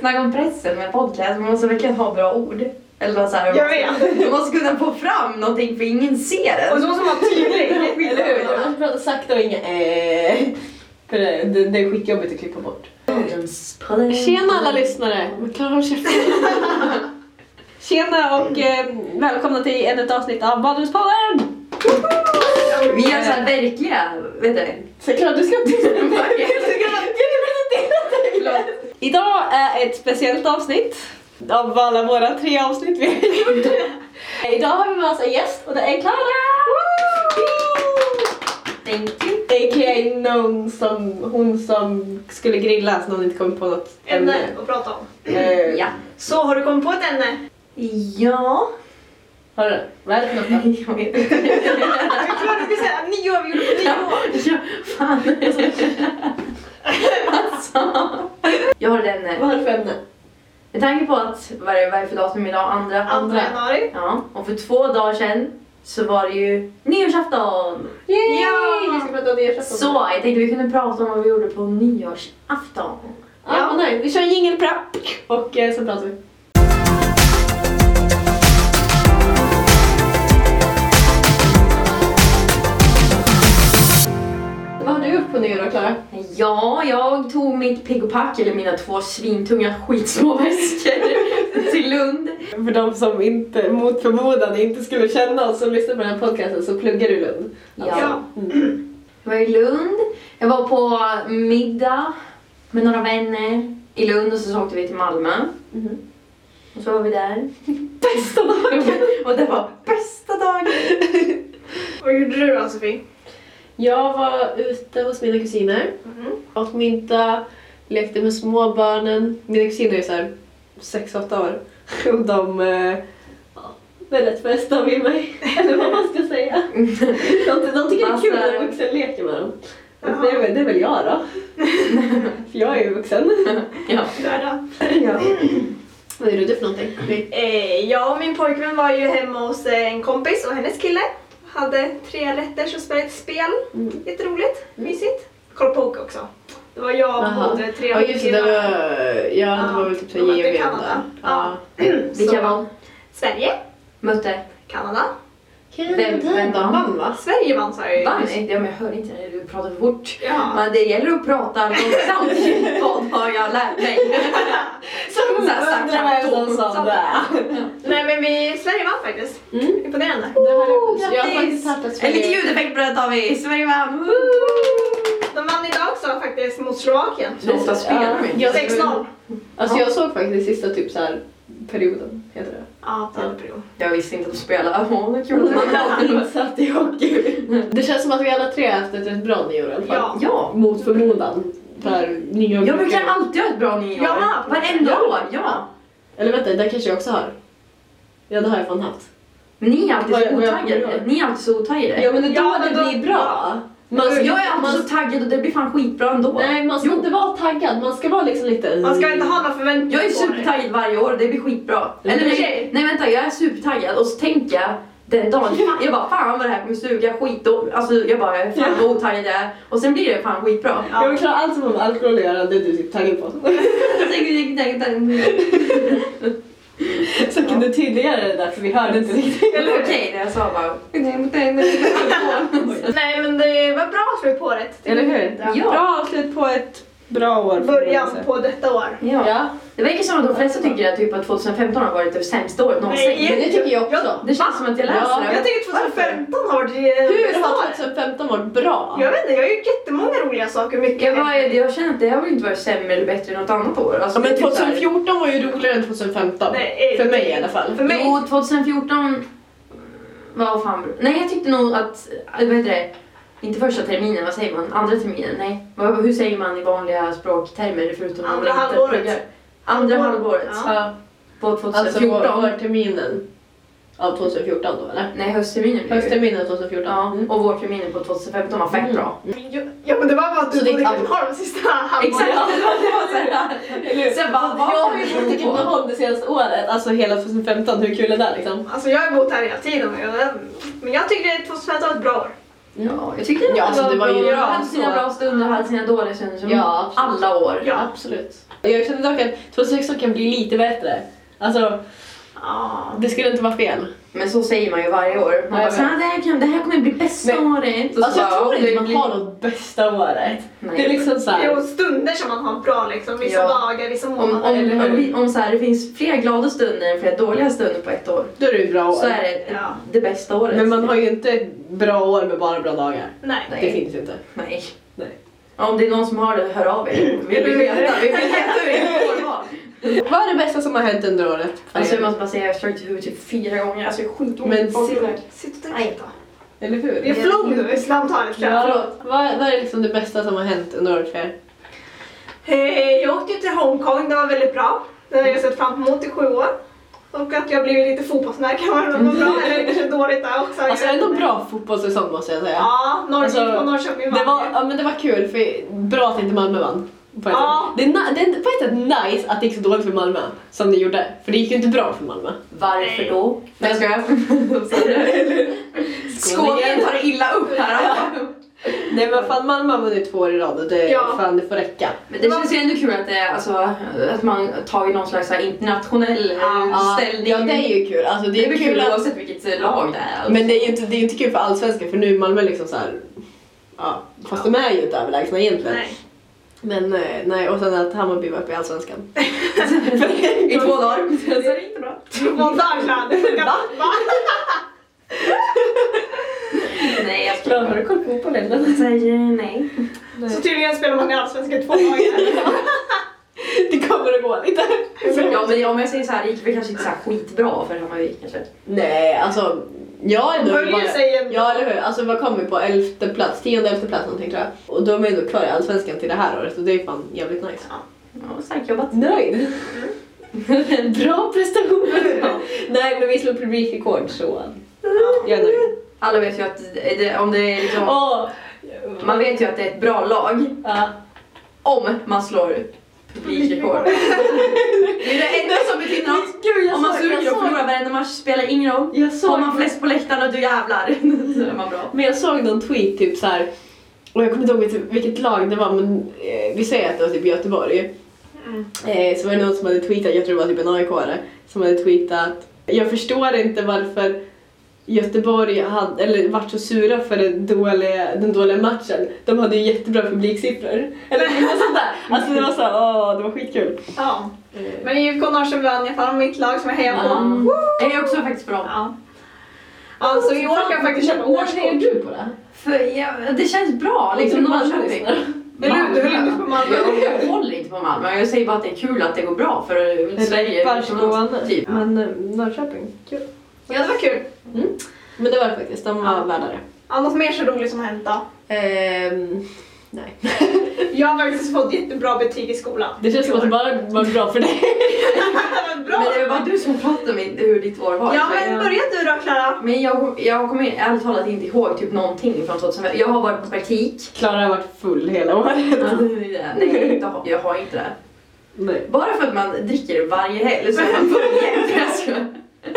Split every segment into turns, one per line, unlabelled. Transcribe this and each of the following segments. Snacka om pressen med podcast, man måste verkligen ha bra ord. Eller så här,
Jag vet.
Man måste kunna få fram någonting för ingen ser
Och
det.
så måste man vara tydlig.
Eller hur? Man pratar sakta och inga eh. För det, det, det är skitjobbigt att klippa bort.
Tjena alla lyssnare! Men Klara håll käften. Tjena och eh, välkomna till ännu ett avsnitt av Badrumspodden!
Vi gör så här verkliga, vet du.
Såklart du ska inte...
Idag är ett speciellt avsnitt av alla våra tre avsnitt vi har gjort. Idag har vi med oss en gäst och det är Klara!
Thank you.
Det är någon som, hon som skulle grilla så någon inte kom på något
Ämne att prata om.
Eh,
Ja.
Så har du kommit på ett ämne?
Ja.
Har du? Vad är det för något då?
Jag vet inte.
Jag är klar att du ska säga nio år, vi gjorde på nio år.
Ja, fan. Alltså. Jag har ett ämne.
Vad har du för ämne?
Med tanke på att, vad är vad är det för datum idag? Andra?
Andra januari.
Ja, och för två dagar sedan så var det ju nyårsafton!
Yay!
Ja!
Vi ska prata om nyårsafton.
Så jag tänkte vi kunde prata om vad vi gjorde på nyårsafton.
Ja,
Ja.
vad nice. Vi kör en jingelprapp och eh, så pratar vi. Vad har du gjort på nyår då, Klara?
Ja, jag tog mitt pigg och pack, eller mina två svintunga skitsmå väskor till Lund.
För de som inte, mot förmodan inte skulle känna oss som lyssnar på den här podcasten så pluggar du Lund. Alltså. Mm.
Ja. Jag var i Lund, jag var på middag med några vänner i Lund och så åkte vi till Malmö.
Mhm.
Och så var vi där.
Bästa dagen!
och det var bästa dagen!
Vad gjorde du då Sofie?
Jag var ute hos mina kusiner,
Mhm.
åt middag, lekte med småbarnen. Mina kusiner är såhär 6-8 år och de eh, ja, väldigt fästa vid mig, eller vad man ska säga. De, de tycker Alltså, det är kul när en vuxen leker med dem. Och det, är, väl- det är väl jag då. För jag är ju vuxen.
ja.
Där då.
Ja. Vad gjorde du typ för någonting?
Eh, jag och min pojkvän var ju hemma hos eh, en kompis och hennes kille. Hade tre rätter och spelade ett spel.
Mm.
Jätteroligt, mysigt. Kolla på poker också. Det var jag och
Jaha.
både tre
Ja just det, det var, ja, det var väl typ såhär
Ja, det
JVM
kan man
där.
ta.
Ja.
Vilka vann?
Sverige,
Mötte?
Kanada.
Vem- vem
de
vann?
vann va?
Sverige vann sa jag ju
Vann?
nyss.
Ja, men jag hör inte när du pratar för fort.
Ja.
Men det gäller att prata långsamt i en podd har jag lärt mig. Som så här
Undrar
stackars
vem som sa
dom.
det.
Nej men vi, Sverige vann faktiskt.
Mm.
Imponerande.
Det har jag, jag har
grattis!
faktiskt hört att
En liten
Sverige...
ljudeffekt på det tar vi. Sverige vann! Woo!
De vann idag också faktiskt mot Slovakien.
Hur ofta spelar de?
Ja,
6-0.
Alltså jag såg faktiskt sista typ så här perioden, heter det.
Ja, det var bra.
Jag visste inte att de spelade. Åh, vad kul att man vann.
Insatt i hockey. Det känns som att vi alla tre har haft ett rätt bra nyår i alla fall.
Ja.
Ja.
Mot förmodan. För nyår
Jag brukar alltid ha ett bra nyår.
Jag med.
Varenda
Ja.
år, ja.
Eller vänta, det kanske jag också har. Ja det har jag fan haft.
Ni är alltid
Vad
så
jag- vad jag kommer
otaggade.
ihåg.
Ni är alltid så otaggade.
men det är
Ja, men då-
Man
Alltså,
ska,
jag är alltid
man,
så taggad och det blir fan skitbra ändå.
Nej man ska
Jo.
inte vara taggad, man ska vara liksom lite...
Man ska inte ha några förväntningar
Jag är
på det.
supertaggad varje år och det blir skitbra.
Mm.
Eller nej,
Okej.
nej vänta, jag är supertaggad och så tänker jag den dagen, fan, jag bara fan vad det här kommer suga skit och, alltså jag bara fan vad otaggad jag är och sen blir det fan skitbra.
Jag
Ja.
vill klara allt som har med alkohol att göra, det är du typ taggad på.
Jag tänker, tänker, tänker, tänker.
Så kan du tydligare det där för vi hörde inte riktigt.
Eller Okej, det jag sa bara.
Nej men det var bra slut på året.
Eller hur?
Ja.
Bra avslut på ett bra år. får man
Början
säga.
på detta år.
Ja.
Ja.
Det verkar som att de flesta tycker att typ att 2015 har varit det sämsta året någonsin.
Nej.
Men det tycker jag också.
Ja.
Det känns som att jag läser
Ja,
det.
Jag tycker 2015 har varit det
Hur
bästa
har
året.
2015 varit bra?
Jag vet inte, jag har gjort jättemånga roliga saker. Mycket.
Jag, bara, jag känner att det har väl inte varit sämre eller bättre än något annat år. Alltså,
Ja, men
det är typ så här-
2014 var ju roligare än 2015.
Nej, eh,
för mig i alla fall.
För mig.
Jo, 2014 var fan bra. Nej, jag tyckte nog att, äh, vad heter det, inte första terminen, vad säger man? Andra terminen? Nej, vad, hur säger man i vanliga språktermer förutom om man
Andra
inte
halvåret.
pluggar? Andra halvåret
Ja.
Ja.
på
Alltså
2014.
vårterminen av 2014 då eller?
Nej, höstterminen. blir det.
Höstterminen 2014.
Ja,
Mm.
och vårterminen på 2015 var fett
Mm.
bra.
Ja men det var bara att
Så
du
det
bodde i
är allt.
Katrineholm sista halvåret.
Exakt! det var så här.
Mm.
Sen bara, Mm. vad
Jag har ju
kommer
bott i
vi på?
Katrineholm det senaste året, alltså hela 2015. Hur kul är det liksom?
Alltså jag har bott här hela tiden. men jag- Men jag tycker att 2015 var ett bra år.
Ja, jag tyckte det
Ja, alltså, det var ju
bra.
bra
hade sina
så.
bra stunder, hade sina dåliga stunder som
Ja, absolut.
alla år.
Ja.
Absolut. Jag känner dock att 2016 kan bli lite bättre. Alltså,
Ja.
det skulle inte vara fel.
Men så säger man ju varje år. Man
Ja,
bara
jag
så här, det, här kan, det här kommer bli bästa
Men-
året. Och så
Alltså, jag
bara,
tror
"Åh,
inte
det
man
blir-"
har något bästa året.
Nej.
Det är liksom
Jo,
såhär.
stunder som man har bra liksom. Vissa
Ja.
dagar, vissa
Om,
månader.
om,
eller hur?
om, om så här, det finns fler glada stunder än fler dåliga stunder på ett år
Då är det ju bra år.
så är det
Ja.
det bästa året.
Men man har ju inte ett bra år med bara bra dagar.
Nej.
Nej.
Det finns ju inte.
Nej.
Nej.
Ja, Om det är någon som har det, hör av er. Vi vill veta. Vi vill veta hur det går.
Vad är det bästa som har hänt under året?
Alltså jag måste bara säga, jag har slagit huvudet typ fyra gånger. Alltså jag är skitont.
Men
Och-
se-
Sitt och tänk då.
Eller hur?
Vi flog nu i slamtalet tror jag.
Ja, vad, vad är liksom det bästa som har hänt under året för er?
Eh, Jag åkte ju till Hongkong, det var väldigt bra. Det har jag sett fram emot i sju år. Och att jag blivit lite fotbollsnär kan vara vara bra, eller kanske dåligt där också.
Mm. Alltså
Jag vet
ändå
inte.
bra fotbollssäsong måste jag säga.
Ja, Norrköping
Alltså,
och Norrköping
Det var,
ju.
ja, men det var kul, för bra att inte Malmö vann. På ett
Ja.
sätt. Det, är na- det är på ett sätt nice att det gick så dåligt för Malmö som det gjorde. För det gick ju inte bra för Malmö.
Varför då?
Nej, jag skojar.
Skåningen tar illa upp här.
Nej men fan Malmö har vunnit två år i rad och det,
Ja.
fan, det får räcka.
Men det känns ju ändå kul att, det, är, alltså, att man tagit någon slags så här internationell eh,
Ja.
ställning.
Ja det är ju kul. Alltså, det,
Det
är kul, att,
oavsett vilket eh, lag det är.
Men det är ju inte, det är ju inte kul för allsvenskan för nu är Malmö liksom så här. Ja, fast de är ju inte överlägsna egentligen.
Nej.
Men eh, nej, och sen att Hammarby var uppe i Allsvenskan.
alltså. I två dagar.
Det är inte bra. Montageland.
Va?
Nej, jag ska
Har du koll på fotboll eller?
säga nej.
Så tydligen spelar man i Allsvenskan två dagar.
Det kommer att gå lite.
Ja, men om jag säger så här, det gick väl kanske inte så här skitbra för Hammarby kanske.
Nej, alltså. Jag är ändå
Höljer sig ändå.
Ja, eller hur? Alltså vad kommer vi på? Elfte plats, tionde, elfte plats någonting tror jag. Och då är man ändå kvar i Allsvenskan till det här året och det är fan jävligt nice.
Ja, starkt jobbat.
Nöjd! Bra prestation! Nej, men vi slog publikrekord så jag är nöjd.
Alla vet ju att det, om det är liksom,
Åh!
man vet ju att det är ett bra lag
Ja.
om man slår publikrekord. Det är det enda som betyder något.
Gud, jag
Om man
såg-
suger och
jag såg-
förlorar varenda match spelar ingen roll.
Jag såg
Har man flest på läktaren och du jävlar, så är man bra.
Men jag såg någon tweet typ så här. Och jag kommer inte ihåg vilket- vilket lag det var men eh, vi säger att det var typ Göteborg. Eh, så var det någon som hade tweetat, jag tror det var typ en AIK-are, som hade tweetat Jag förstår inte varför Göteborg hade, eller vart så sura för den dåliga, den dåliga matchen. De hade ju jättebra publiksiffror. Eller något sånt där. Alltså det var så här, åh det var skitkul.
Ja. Men IFK Norrköping vann i alla fall, mitt lag som jag hejar på.
Mm. Det är också faktiskt bra.
Ja. Ja, så i år kan jag faktiskt köpa årskort.
du på det?
För, ja, det känns bra, liksom Norrköping.
Eller hur? Du höll inte på Malmö.
Jag, jag håller inte på Malmö, jag säger bara att det är kul att det går bra för eh, Sverige.
Barcelona.
Typ.
Men eh, Norrköping, kul.
Ja, det var kul.
Men det var det faktiskt, de var värdare.
Ja, något mer så roligt som har hänt då?
Ehm, nej.
Jag har faktiskt fått jättebra betyg i skolan.
Det känns som att det bara var bra för dig.
Vad bra!
Men det är bara du som pratar om hur ditt år var.
Ja,
Så
men
jag-
börja du då Klara.
Men jag, jag kommer ärligt talat inte ihåg typ någonting från 2005. Jag har varit på praktik.
Klara har varit full hela året.
Nej, inte har- jag har inte det.
Nej.
Bara för att man dricker varje helg så är man full jämt. Jag skojar.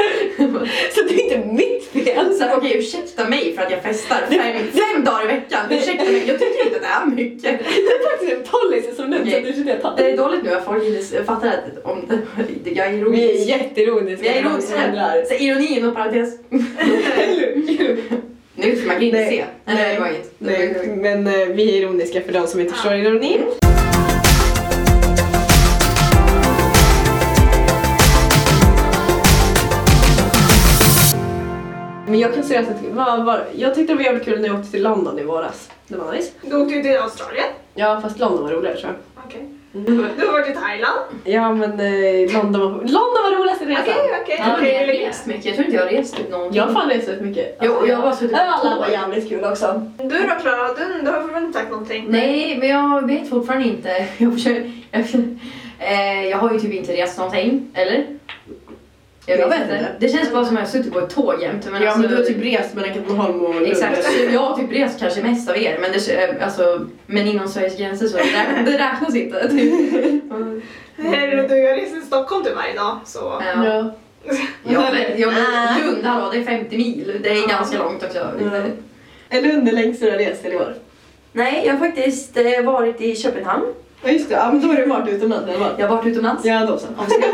Så det är inte mitt fel.
Så här, Alltså, Okej, ursäkta mig för att jag festar fem, fem dagar i veckan. Ursäkta mig, jag tycker inte att det är mycket.
Det är faktiskt en policy som nämns
Okej.
att du skulle ta.
Det är dåligt nu att folk inte fattar att om, jag är
Vi är
ironisk.
jätteironiska.
Vi är ironiska. Så ironi inom parentes. Nu, man kan ju inte
Nej.
se. Nej, nej, det var inget. Det var
Nej, Mm.
inget.
men eh, vi är ironiska för de som inte förstår ironin. Men jag kan säga att vad var, jag tyckte det var jävligt kul när jag åkte till London i våras. Det var nice.
Du åkte ju till Australien.
Ja, fast London var roligare tror jag.
Okej. Du har varit i Thailand.
Ja, men eh, London, var, London var roligast i resan.
Okej, okej.
Jag har
Alltså. Okej,
inte
eller-
rest mycket. Jag tror inte jag har rest typ någonting.
Jag har fan rest rätt mycket.
Jo, jag har bara suttit på
Öland var
tåg.
jävligt kul också.
Du då Klara, du, du har fortfarande inte sagt någonting.
Nej, men jag vet fortfarande inte. Jag, försöker, jag, eh, jag har ju typ inte rest någonting, eller?
Jag vet inte.
Det känns bara som att jag har suttit på ett tåg jämt. Men
ja,
alltså,
men du har typ rest mellan Katrineholm och Lund.
Exakt, så jag har typ rest kanske mest av er, men, det, eh, alltså, men inom Sveriges gränser så det, räk- det räknas inte. Typ.
Herre du, jag reser till Stockholm typ varje dag. Så.
Ja,
Ja.
ja, men, ja, men Lund, hallå, det är 50 mil. Det är ganska långt också.
Mm. Är Lund det längst du har rest till i år?
Nej, jag har faktiskt eh, varit i Köpenhamn.
Ja just det, ja, men då har du varit utomlands i alla fall.
Jag har varit utomlands.
Ja då så.
Absolut.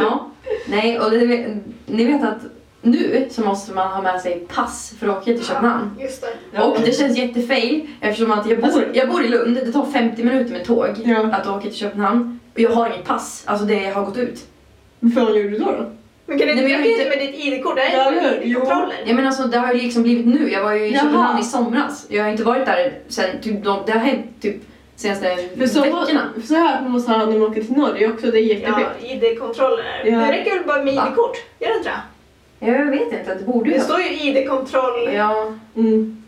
ja. Nej, och det, ni vet att nu så måste man ha med sig pass för att åka till Köpenhamn.
Just det.
Och det känns jättefail eftersom att jag, bor, jag bor i Lund, det tar 50 minuter med tåg
Ja.
att åka till Köpenhamn. Och jag har inget pass, alltså det har gått ut.
Vad fan gjorde du då? då?
Men kan du
Nej, men jag
inte
har
åka in
inte-
med ditt ID-kort? Det är
Ja, eller hur?
ju kontroller.
Ja men alltså det har ju liksom blivit nu, jag var ju i
Jaha.
Köpenhamn i somras. Jag har inte varit där sen, typ, de, det har hänt typ senaste
För så,
veckorna.
för så här man måste ha när man åker till Norge också, det är jättefint.
Ja, ID-kontroller.
Ja.
Det räcker väl bara med
Va?
ID-kort? Gör det inte det?
Ja, jag vet inte, det borde ju
Det står ju ID-kontroll.
Ja,
Mm.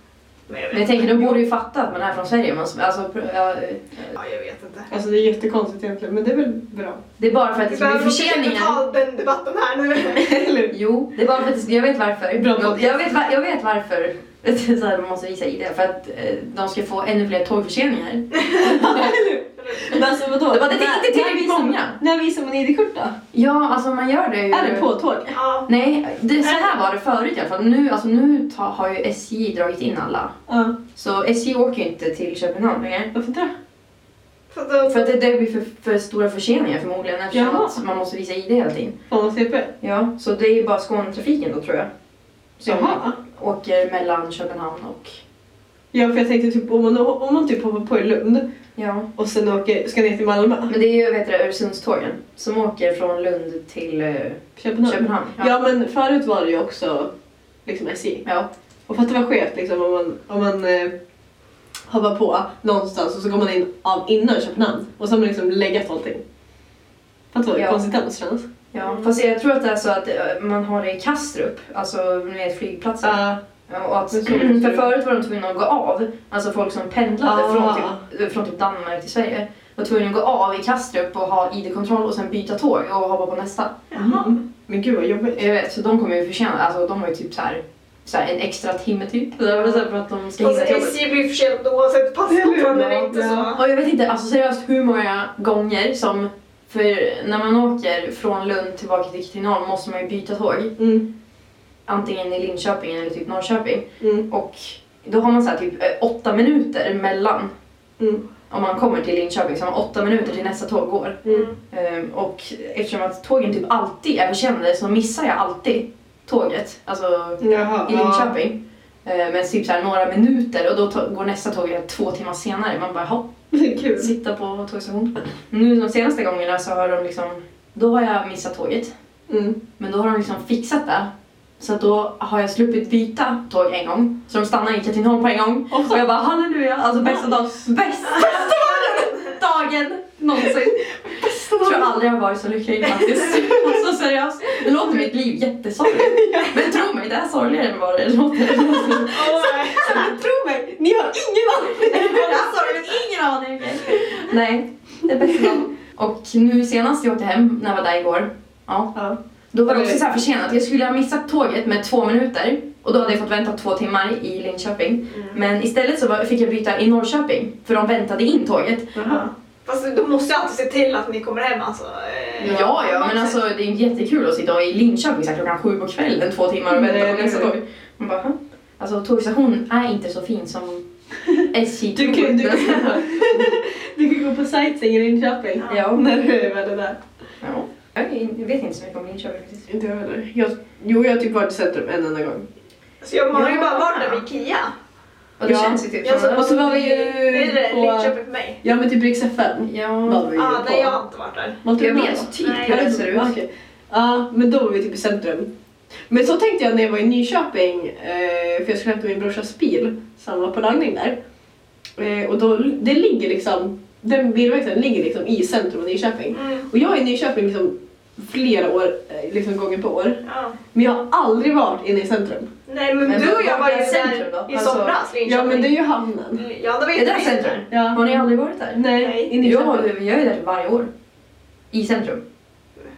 jag
men jag tänker de borde ju fatta att man är från Sverige. Man, alltså, pr- ja, eh,
Ja, jag vet inte.
Alltså det är jättekonstigt egentligen, men det är väl bra.
det är bara för att det
Vi
ska bli
behöver nog
förseningar.
inte ta den debatten här nu.
Eller
Jo, det är bara för att det ska- jag vet varför.
Bra podcast.
Jag vet, va- jag vet varför. Det är Så här, man måste visa i det för att eh, de ska få ännu fler tågförseningar.
Men alltså vadå?
Det var- det är inte tillräckligt
När visar-
många.
När visar man ID-kort då?
Ja, alltså man gör det ju.
Är det på tåg?
Ja,
Nej, det, så här var det förut i alla fall. Nu, alltså, nu ta, har ju SJ dragit in alla.
Ja.
Så SJ åker ju inte till Köpenhamn längre.
Varför inte det?
för då,
För att det, det blir för, för stora förseningar förmodligen eftersom
Jaha.
att man måste visa ID hela tiden.
Fan vad CP.
Ja, så det är ju bara Skånetrafiken då tror jag. Som
Jaha.
åker mellan Köpenhamn och...
Ja för jag tänkte typ om man, om man typ hoppar på i Lund
Ja.
och sen åker, ska ner till Malmö.
Men det är ju vet du, Öresundstågen som åker från Lund till eh,
Köpenhamn.
Köpenhamn.
Ja. men förut var det ju också liksom SJ.
Ja.
Och fatta vad skevt liksom om man, om man eh, hoppar på någonstans och så går man in av innan Köpenhamn och så har man liksom legat allting. Fatta vad
Ja.
konstigt det måste kännas.
ja. Fast jag tror att det är så att eh, man har det i Kastrup, alltså ni vet flygplatsen.
Ja.
Ja, Mm. Och att,
Men så måste
för
du-
förut var de tvungna att gå av, alltså folk som pendlade
Ah.
från, typ, från typ Danmark till Sverige var tvungna att gå av i Kastrup och ha ID-kontroll och sen byta tåg och hoppa på nästa. Eh,
Jaha.
Mm. Men gud vad jobbigt.
Jag vet, så de kommer ju förtjäna, alltså de har ju typ så här, så här en extra timme typ. Det var så här för att de ska
Alltså,
hinna till jobbet.
SJ blir försenad oavsett passkontroll eller inte så.
Och jag vet inte, alltså seriöst hur många gånger som, för när man åker från Lund tillbaka till Kristinehamn måste man ju byta tåg.
Mm.
Antingen i Linköping eller typ Norrköping.
Mm.
Och då har man så här typ eh, åtta minuter mellan.
Mm.
Om man kommer till Linköping så har man åtta minuter till nästa tåg går.
Mm.
Ehm, Och eftersom att tågen typ alltid är försenade så missar jag alltid tåget. Alltså
Jaha.
i Linköping. Ehm, Men typ så här några minuter och då ta- går nästa tåg eh, två timmar senare. Man bara hopp
Ja. Kul.
sitta på tågstation. Nu de senaste gångerna så har de liksom, då har jag missat tåget.
Mm.
Men då har de liksom fixat det. Så att då har jag sluppit byta tåg en gång. Så de stannar i Katrineholm på en gång.
Och så-
Och jag bara halleluja, alltså bästa dagen, bästa dagen någonsin. Jag tror jag aldrig jag har varit så lycklig faktiskt. Alltså seriöst. Nu låter mitt liv jättesorgligt. Men tro mig, det är sorgligare än vad det låter.
Tro mig, ni har ingen aning.
Alltså, jag har ingen aning. Nej, det är bäst idag. Och nu senast jag åkte hem, när jag var där igår, ja,
Ja.
då var det också så här försenat. Jag skulle ha missat tåget med två minuter och då hade jag fått vänta två timmar i Linköping. Men istället så var, fick jag byta i Norrköping, för de väntade in tåget.
Jaha.
Fast du måste alltid se till att ni kommer hem alltså. Eh,
Ja, ja, men alltså det är ju jättekul att sitta i Linköping så här klockan sju på kvällen två timmar och vänta
Nej,
på nästa
nej.
tåg. Man bara, "Hä?" alltså tågstationen är inte så fin som SJ
Du kan, du, kan, du kan gå på sightseeing i Linköping.
Ja.
När du är väl där.
Ja. Jag vet inte så mycket om Linköping faktiskt.
Inte jag heller. Jag, jo, jag har typ varit i centrum en enda gång.
Så jag, man har ju
Ja.
bara varit där vid Ikea.
Och det
Ja.
känns ju typ
Jag
som
Och så var vi ju
Det är det,
på-
Linköping för mig.
Ja, men typ riks FM
Ja.
var vi ju
Ja,
på.
nej jag har inte varit där.
Var inte
Jag
du med
vet
då?
typ
Nej,
hur
jag
det ser ut.
Ja, okej. Ja, men då var vi typ i centrum. Men så tänkte jag när jag var i Nyköping, eh, för jag skulle hämta min brorsas bil som var på lagning där. Eh, och då, det ligger liksom, den bilverkstaden ligger liksom i centrum av Nyköping.
Mm.
Och jag är i Nyköping liksom flera år, eh, liksom gånger på år.
Ja.
Men jag har aldrig varit inne i centrum.
Nej men,
Men
du och jag
vart
var ju
är centrum
där
då?
i
Alltså-
somras, Linköping.
Ja men det är ju hamnen.
Ja, det var
Är det
inte
centrum?
Ja.
Har ni aldrig varit där?
Nej,
Nej.
i
Jo,
Nyköping.
jag är där typ varje år. I centrum.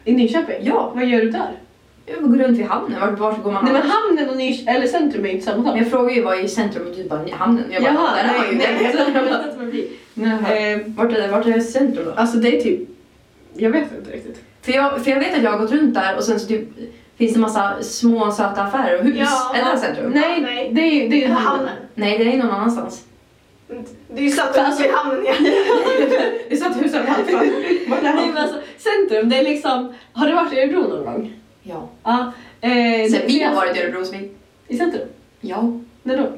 I Nyköping?
Ja.
Vad gör du där?
Jag går runt vid hamnen. Vart, vart går man
Nej men
annars?
hamnen och Nyköping, eller centrum är inte samma sak.
Men jag frågar ju vad är i centrum och du bara "Ni- hamnen. Jag bara,
Jaha,
där har
nej,
ju
nej, jag
den.
fattar
Jag
inte
bara,
att man blir.
"Nähä."
Eh,
Vart är, vart är centrum då?
Alltså det är typ, jag vet inte riktigt.
För jag, för jag vet att jag har gått runt där och sen så typ finns det massa små söta affärer och hus.
Ja.
Är det här centrum?
Nej,
nej.
det är ju det är ju
Hamnen.
Nej, det är någon annanstans.
Det är ju satt
För alltså-
upp i hamnen igen.
Det satt hus överallt för. Vart är
Nej,
han?
men alltså, centrum, det är liksom... Har du varit i Örebro någon gång?
Ja.
Ja. Eh,
Sen vi har
det-
varit i Örebro så vi...
I centrum?
Ja.
När då?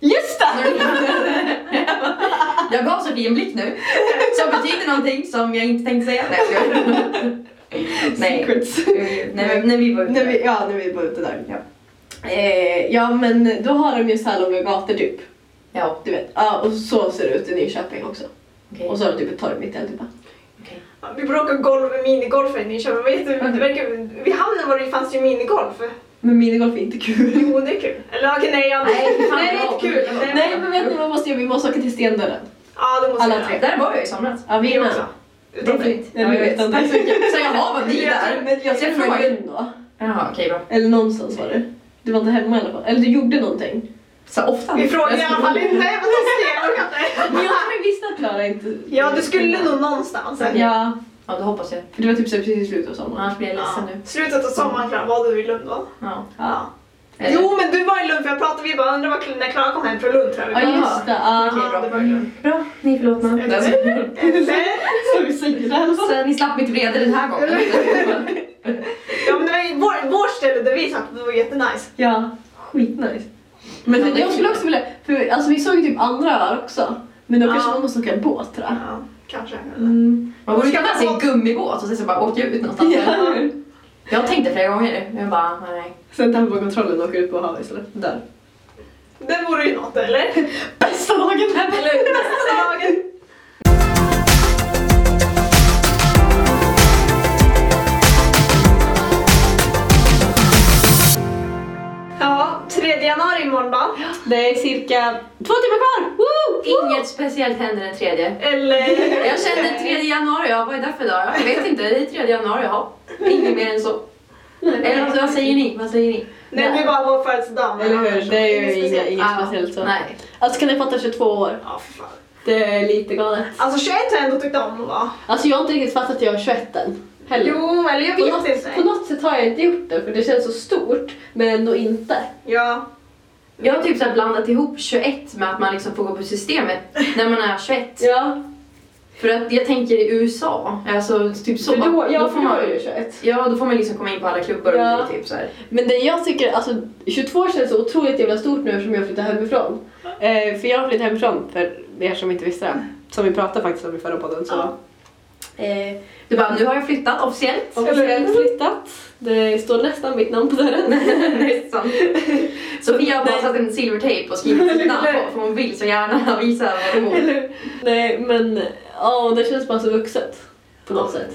Just det!
Jag gav Sofie en blick nu som betyder någonting som jag inte tänkte säga. Nej, jag skojar. Nej.
Secrets.
Nej, men när vi var ute.
när vi, ja, när vi var ute där.
Ja.
Eh, ja, men då har de ju så här långa gator typ.
Ja,
Du vet. Ja, och så ser det ut i Nyköping också.
okej.
Och så har de typ ett torg mitt i alltihopa.
okej.
Ja, Vi bråkade golf, minigolf i Nyköping. Det var
Mm.
jätte- det verkar- Vid hamnen var det, fanns det ju minigolf.
Men minigolf är inte kul.
Jo, det är kul. Eller okej, nej. Jag...
Nej, fan,
det är
jag-
inte kul.
jag-
Nej, men vet ni vad vi måste göra? Vi måste åka till Stendörren.
Ja, det måste
Alla
jag
tre.
göra.
Där var jag i somras.
Ja, vi
Vi
är
också.
med.
Det är
Utan dig.
fint.
Ja, vi vet inte.
Tack så mycket. Så jaha, var ni
Jag tror-
där?
Men jag
Jag
tror
frågar.
jag då.
Jaha, okej bra.
Eller någonstans var det. Du var inte hemma i alla fall. Eller du gjorde någonting.
Så ofta.
Vi frågade i alla fall inte. Men de skrev och
Men jag
inte.
tror visst att Klara inte...
Ja, du skulle nog någonstans. eller?
Ja,
Ja, det hoppas jag.
för det var typ så här precis i slutet av sommaren.
Annars blir jag ledsen
Ja.
nu.
Slutet av sommaren Clara, var du i Lund då?
Ja. Eh,
Ja,
Eller-
Jo men du var i Lund för jag pratade, vi bara undrar var- när Klara kom hem från Lund tror jag.
ja just det. Ja.
okej,
ja,
bra.
det var i Lund.
Bra, ni förlåt mig.
Så vi säger det i alla fall.
Så ni slapp mitt vrede den här gången.
Ja men det var i vår, vår ställe där vi satt, det var jättenice.
Ja, skitnice. Men
Ja, det-
jag skulle också vilja, för alltså vi såg ju typ andra öar också. Men då
Ja.
kanske man måste åka båt tror jag.
Ja, kanske.
Mm.
Man borde skaffa sig en gummibåt och sen så bara åka ut någonstans.
Ja.
Jag tänkte flera gånger, men jag bara nej.
Sen tappar man kontrollen och åker ut på havet istället. Där.
Det vore ju något eller?
Bästa dagen!
Eller hur? Bästa dagen. Ja, 3 januari imorgon va?
Det är cirka två timmar kvar! Woo!
Inget speciellt händer den tredje.
Eller?
Jag kände 3 januari, ja, vad är det för dag? Jag vet inte, det är 3 januari, ja. Inget mer än så. Eller alltså, vad säger ni? Vad säger ni?
Nej, det är bara vår födelsedag. men
Eller hur?
annars så-
Det är ju inga,
speciellt.
inget
Ah,
speciellt så.
Nej.
Alltså kan ni fatta 22 år?
Ja, för fan.
Det är lite galet.
Alltså 21 har jag ändå tyckt om att vara.
Alltså jag har inte riktigt fattat att jag är 21 än. Heller.
Jo, eller jag
på,
vet
något, på
inte.
något sätt har jag inte gjort det för det känns så stort men ändå inte.
Ja.
Jag har typ så här blandat ihop 21 med att man liksom får gå på systemet när man är 21.
Ja,
För att jag tänker i USA, alltså typ så.
för då, ja,
får man,
ju 21.
ja, då får man liksom komma in på alla klubbar
Ja.
och typ så här.
Men det jag tycker, alltså 22 känns så otroligt jävla stort nu eftersom jag flyttade hemifrån. Eh, för jag har flyttat hemifrån för er som inte visste det. Som vi pratade faktiskt om i förra podden så. Eh,
Du bara, nu har jag flyttat officiellt.
officiellt flyttat. Det står nästan mitt namn på dörren.
Nästan. Sofia har bara satt en silvertejp och skrivit sitt namn på för hon vill så gärna visa vad hon bor.
Eller hur? Nej men, ja det känns bara så vuxet. På något sätt.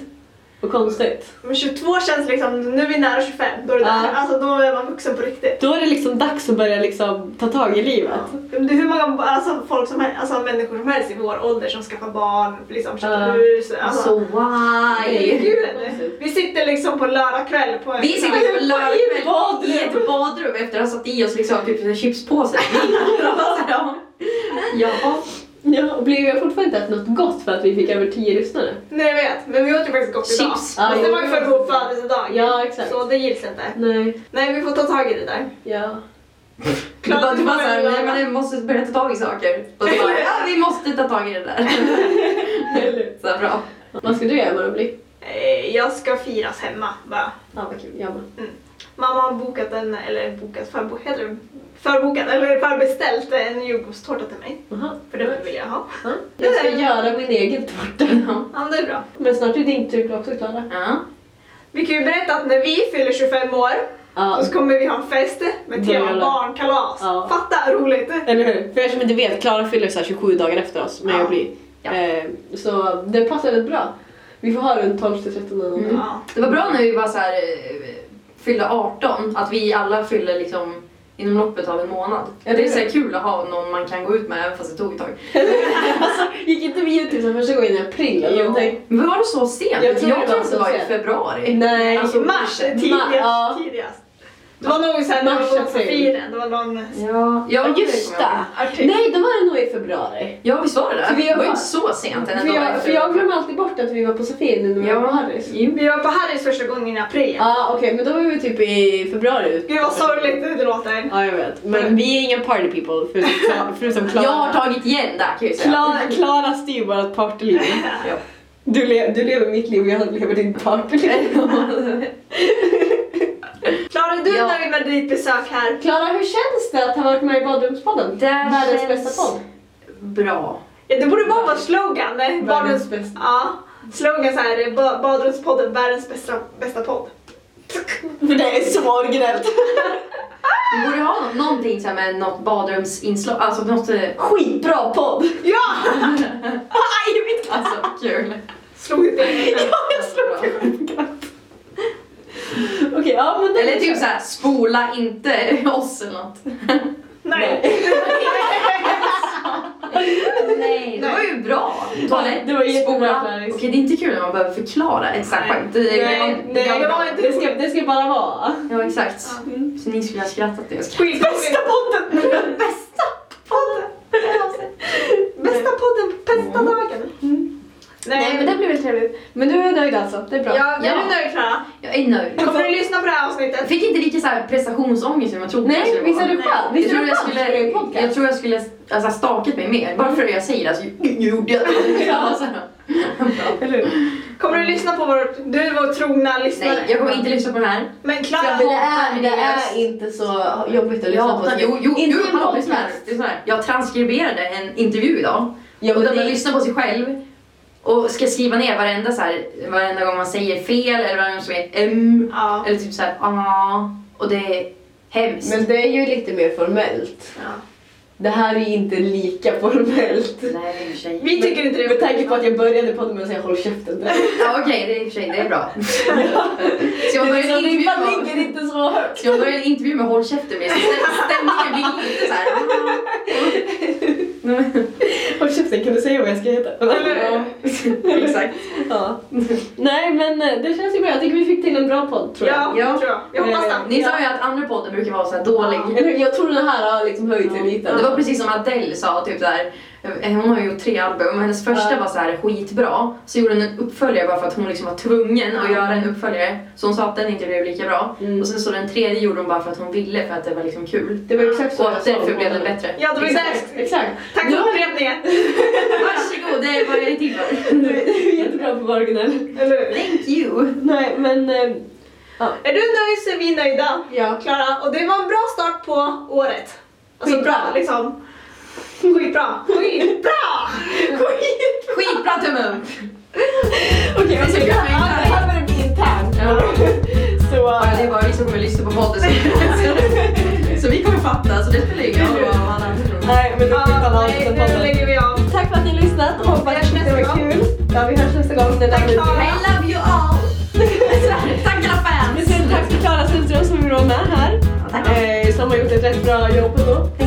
Och konstigt.
Men 22 känns liksom, nu är vi nära 25, då är det
Ja.
där. Alltså då är man vuxen på riktigt.
Då är det liksom dags att börja liksom ta tag i livet.
Det är hur många alltså, folk som, hel- alltså, människor som helst i vår ålder som skaffar barn, liksom köper
Ja.
hus. Alltså,
Så
herregud.
why?
Vi sitter liksom på lördag kväll på en
Vi sitter på
ett badrum.
lördagskväll i ett badrum efter att ha satt i oss liksom typ en chipspåse. ja. ja.
Ja, och blev jag fortfarande inte ätit något gott för att vi fick över 10 lyssnare?
Nej jag vet, men vi åt ju faktiskt gott idag.
Chips.
Men det var ju
Ja.
för vår födelsedag.
Ja, exakt.
Så det gills inte.
Nej.
Nej vi får ta tag i det där.
Ja.
Du bara, du bara såhär,
Klart.
nej men jag måste börja ta tag i saker. Och så bara, ja vi måste ta tag i det där. så bra.
Vad ska du göra imorgon Bli?
Eh, Jag ska firas hemma bara.
Ja, vad kul. Jag med.
Mamma har bokat en, eller bokat, förbo, heter det? förbokat, eller förbeställt en jordgubbstårta till mig.
Aha.
För det vill jag ha.
Ja. Jag ska göra min egen tårta.
Ja, men det är bra.
Men snart är din tur också Klara.
Ja.
Vi kan ju berätta att när vi fyller 25 år
Ja.
så kommer vi ha en fest med tema
Jävlar.
barnkalas.
Ja. Mm.
Fatta roligt!
Eller hur? För er som inte vet, Klara fyller så här 27 dagar efter oss, men
Ja.
jag blir.
Ja.
Eh, så det passar rätt bra. Vi får ha runt 12 till 13 eller någonting.
Mm.
Ja.
Det var bra när vi bara så här, eh, fyllde 18, att vi alla fyller liksom inom loppet av en månad.
Ja, det
det är
är
så här kul att ha någon man kan gå ut med även fast det tog ett tag.
Mm. Gick inte vi ut typ så här första gången i april eller någonting?
Men var det så sent?
Jag
Jag
tror
tror,
det var
att det
så
var i
sent.
februari.
Nej.
Alltså,
Mars är
ma-
tidigast.
ja.
tidigast. Det var någon såhär när de var på
Mars, april.
Safiren, det var någon...
Ja, ja
Ja, just det!
Artist.
Nej, då var det nog i februari.
Ja, visst var det det?
För vi
Det
har-
var ju inte så sent.
För jag, för jag glömmer alltid bort att vi var på Safin när vi
Ja.
var på Harrys.
Vi var på Harrys första gången i april.
Ja, okej, men då var vi typ i februari.
Gud vad sorgligt det låter.
Ja, jag vet. Men vi är inga party people, förutom, förutom Klara.
Jag har tagit igen där kan jag ju säga.
Klara, Klara styr vårt partyliv.
Ja.
Du, le, du lever mitt liv och jag lever ditt partyliv.
Klara, du
Ja.
när vi var dit besök här.
Klara, hur känns det att ha varit med i badrumspodden?
Det
Världens
känns-
bästa podd.
Bra.
Ja, det borde bara vara slogan. eh, Barnens...
bästa.
Ja. Slogan såhär, ba- badrumspodden, världens bästa, bästa podd.
För det är så originellt.
Vi borde ha nå- någonting så här med något badrumsinslag, alltså något eh, skitbra podd.
Ja! Ah,
Aj, mitt Alltså kul.
Slog ut det.
Okej, ja men det
Eller typ såhär, spola inte oss eller något.
Nej.
Nej, det var ju bra. Toalett,
Det var jättebra,
spola.
Clarice.
Okej, det är inte kul när man behöver förklara exakt
Nej.
skämt. Det, det-
Nej,
det-
nej, det var
Det
inte
ska, det ska bara vara.
Ja, exakt.
Mm.
Så ni skulle ha skrattat det.
skit. Bästa podden!
Bästa!
podden. Bästa podden, bästa
Mm.
dagen.
Nej men det blir väl trevligt. Men du är nöjd alltså, det är bra.
Ja, är
Ja.
du nöjd Klara?
Jag är nöjd.
Kommer du lyssna på det här avsnittet?
Jag fick inte riktigt så här prestationsångest som jag trodde jag
Nej,
skulle
visst
vara.
är du själv?
Jag
Visst är
tror
du
jag
själv skulle göra
skulle,
en
jag
podcast?
tror jag skulle alltså, stakat mig mer. Bara för det jag säger, alltså, jag gjorde jag det. Alltså. Ja, så här. Bra.
Eller hur?
Kommer du lyssna på vår... Du är vår trogna lyssnare.
Nej, jag kommer inte lyssna på den här.
Men
Jag
Klara,
vill-
ja,
Det är, det är inte så jobbigt att lyssna på.
Jag, jo, jo,
Inte
jo,
en
hallå,
podcast.
lyssna här. lyssna här. Jag transkriberade en intervju idag.
Ja,
Och
men
där man
det,
lyssnar på sig själv och ska skriva ner varenda, så här, varenda gång man säger fel eller varenda gång som är mm,
ja.
eller typ såhär ah och det är hemskt.
men det är ju lite mer formellt. Det här är ju inte lika formellt.
Nej i och för sig.
Vi tycker inte det.
Med tanke på att jag började podden med att säga håll käften. Det,
Ja okej, det är i och för sig, det är bra. Ska man
det,
börja en
liksom, det
intervju
man
med,
ligger inte så högt.
ska man börja en intervju med håll käften med så stä- stämningen blir lite "Ah." såhär ah.
Håll käften, kan du säga vad jag ska heta?
Eller-
Exakt.
Ja. Nej men eh, det känns ju bra. Jag tycker vi fick till en bra podd tror jag.
Ja,
Ja.
tror jag. Jag hoppas
Eh,
det.
Ni sa ju att andra podden brukar vara såhär dålig.
Eller hur? Jag tror den här har liksom höjt sig lite.
Det var precis som Adele sa, typ där, hon har ju gjort tre album och hennes första
Ja.
var så här skitbra. Så gjorde hon en uppföljare bara för att hon liksom var tvungen att göra en uppföljare. Så hon sa att den inte blev lika bra.
Mm.
Och sen så den tredje gjorde hon bara för att hon ville för att det var liksom kul.
Det var exakt så
Och
jag
att
sa
därför
om
blev den
podden.
bättre.
Ja, det var ju
Exakt,
där.
exakt.
Tack för upprepningen.
Varsågod, det är vad jag är till för.
Du är jättebra på att vara originell.
Eller hur?
Thank you!
Nej men... eh,
Är du nöjd så är vi nöjda.
Ja.
Klara, och det var en bra start på året. Alltså
Skitbra.
bra liksom. Skitbra. Skitbra!
Skitbra tumme upp!
Okej,
Det
okay,
ska
det
jag göra.
här börjar bli internt.
Ja.
Så... eh,
Ja, det är bara vi som kommer lyssna på podden. så- Så vi kommer fatta, så det spelar ingen roll vad alla andra tror.
Nej men det är inte
Ja,
alla
nej,
som
nu
podden.
lägger vi av.
Tack för att ni har lyssnat.
Vi
Hoppas
hörs
att det
nästa
var
gång.
kul. Ja, vi hörs nästa gång. Det där
Tack,
blir-
Klara.
I love you all! Tack alla fans!
Vi säger tack till Klara Sundström som vi var med här.
Tack.
Eh, som har gjort ett rätt bra jobb ändå. Eh,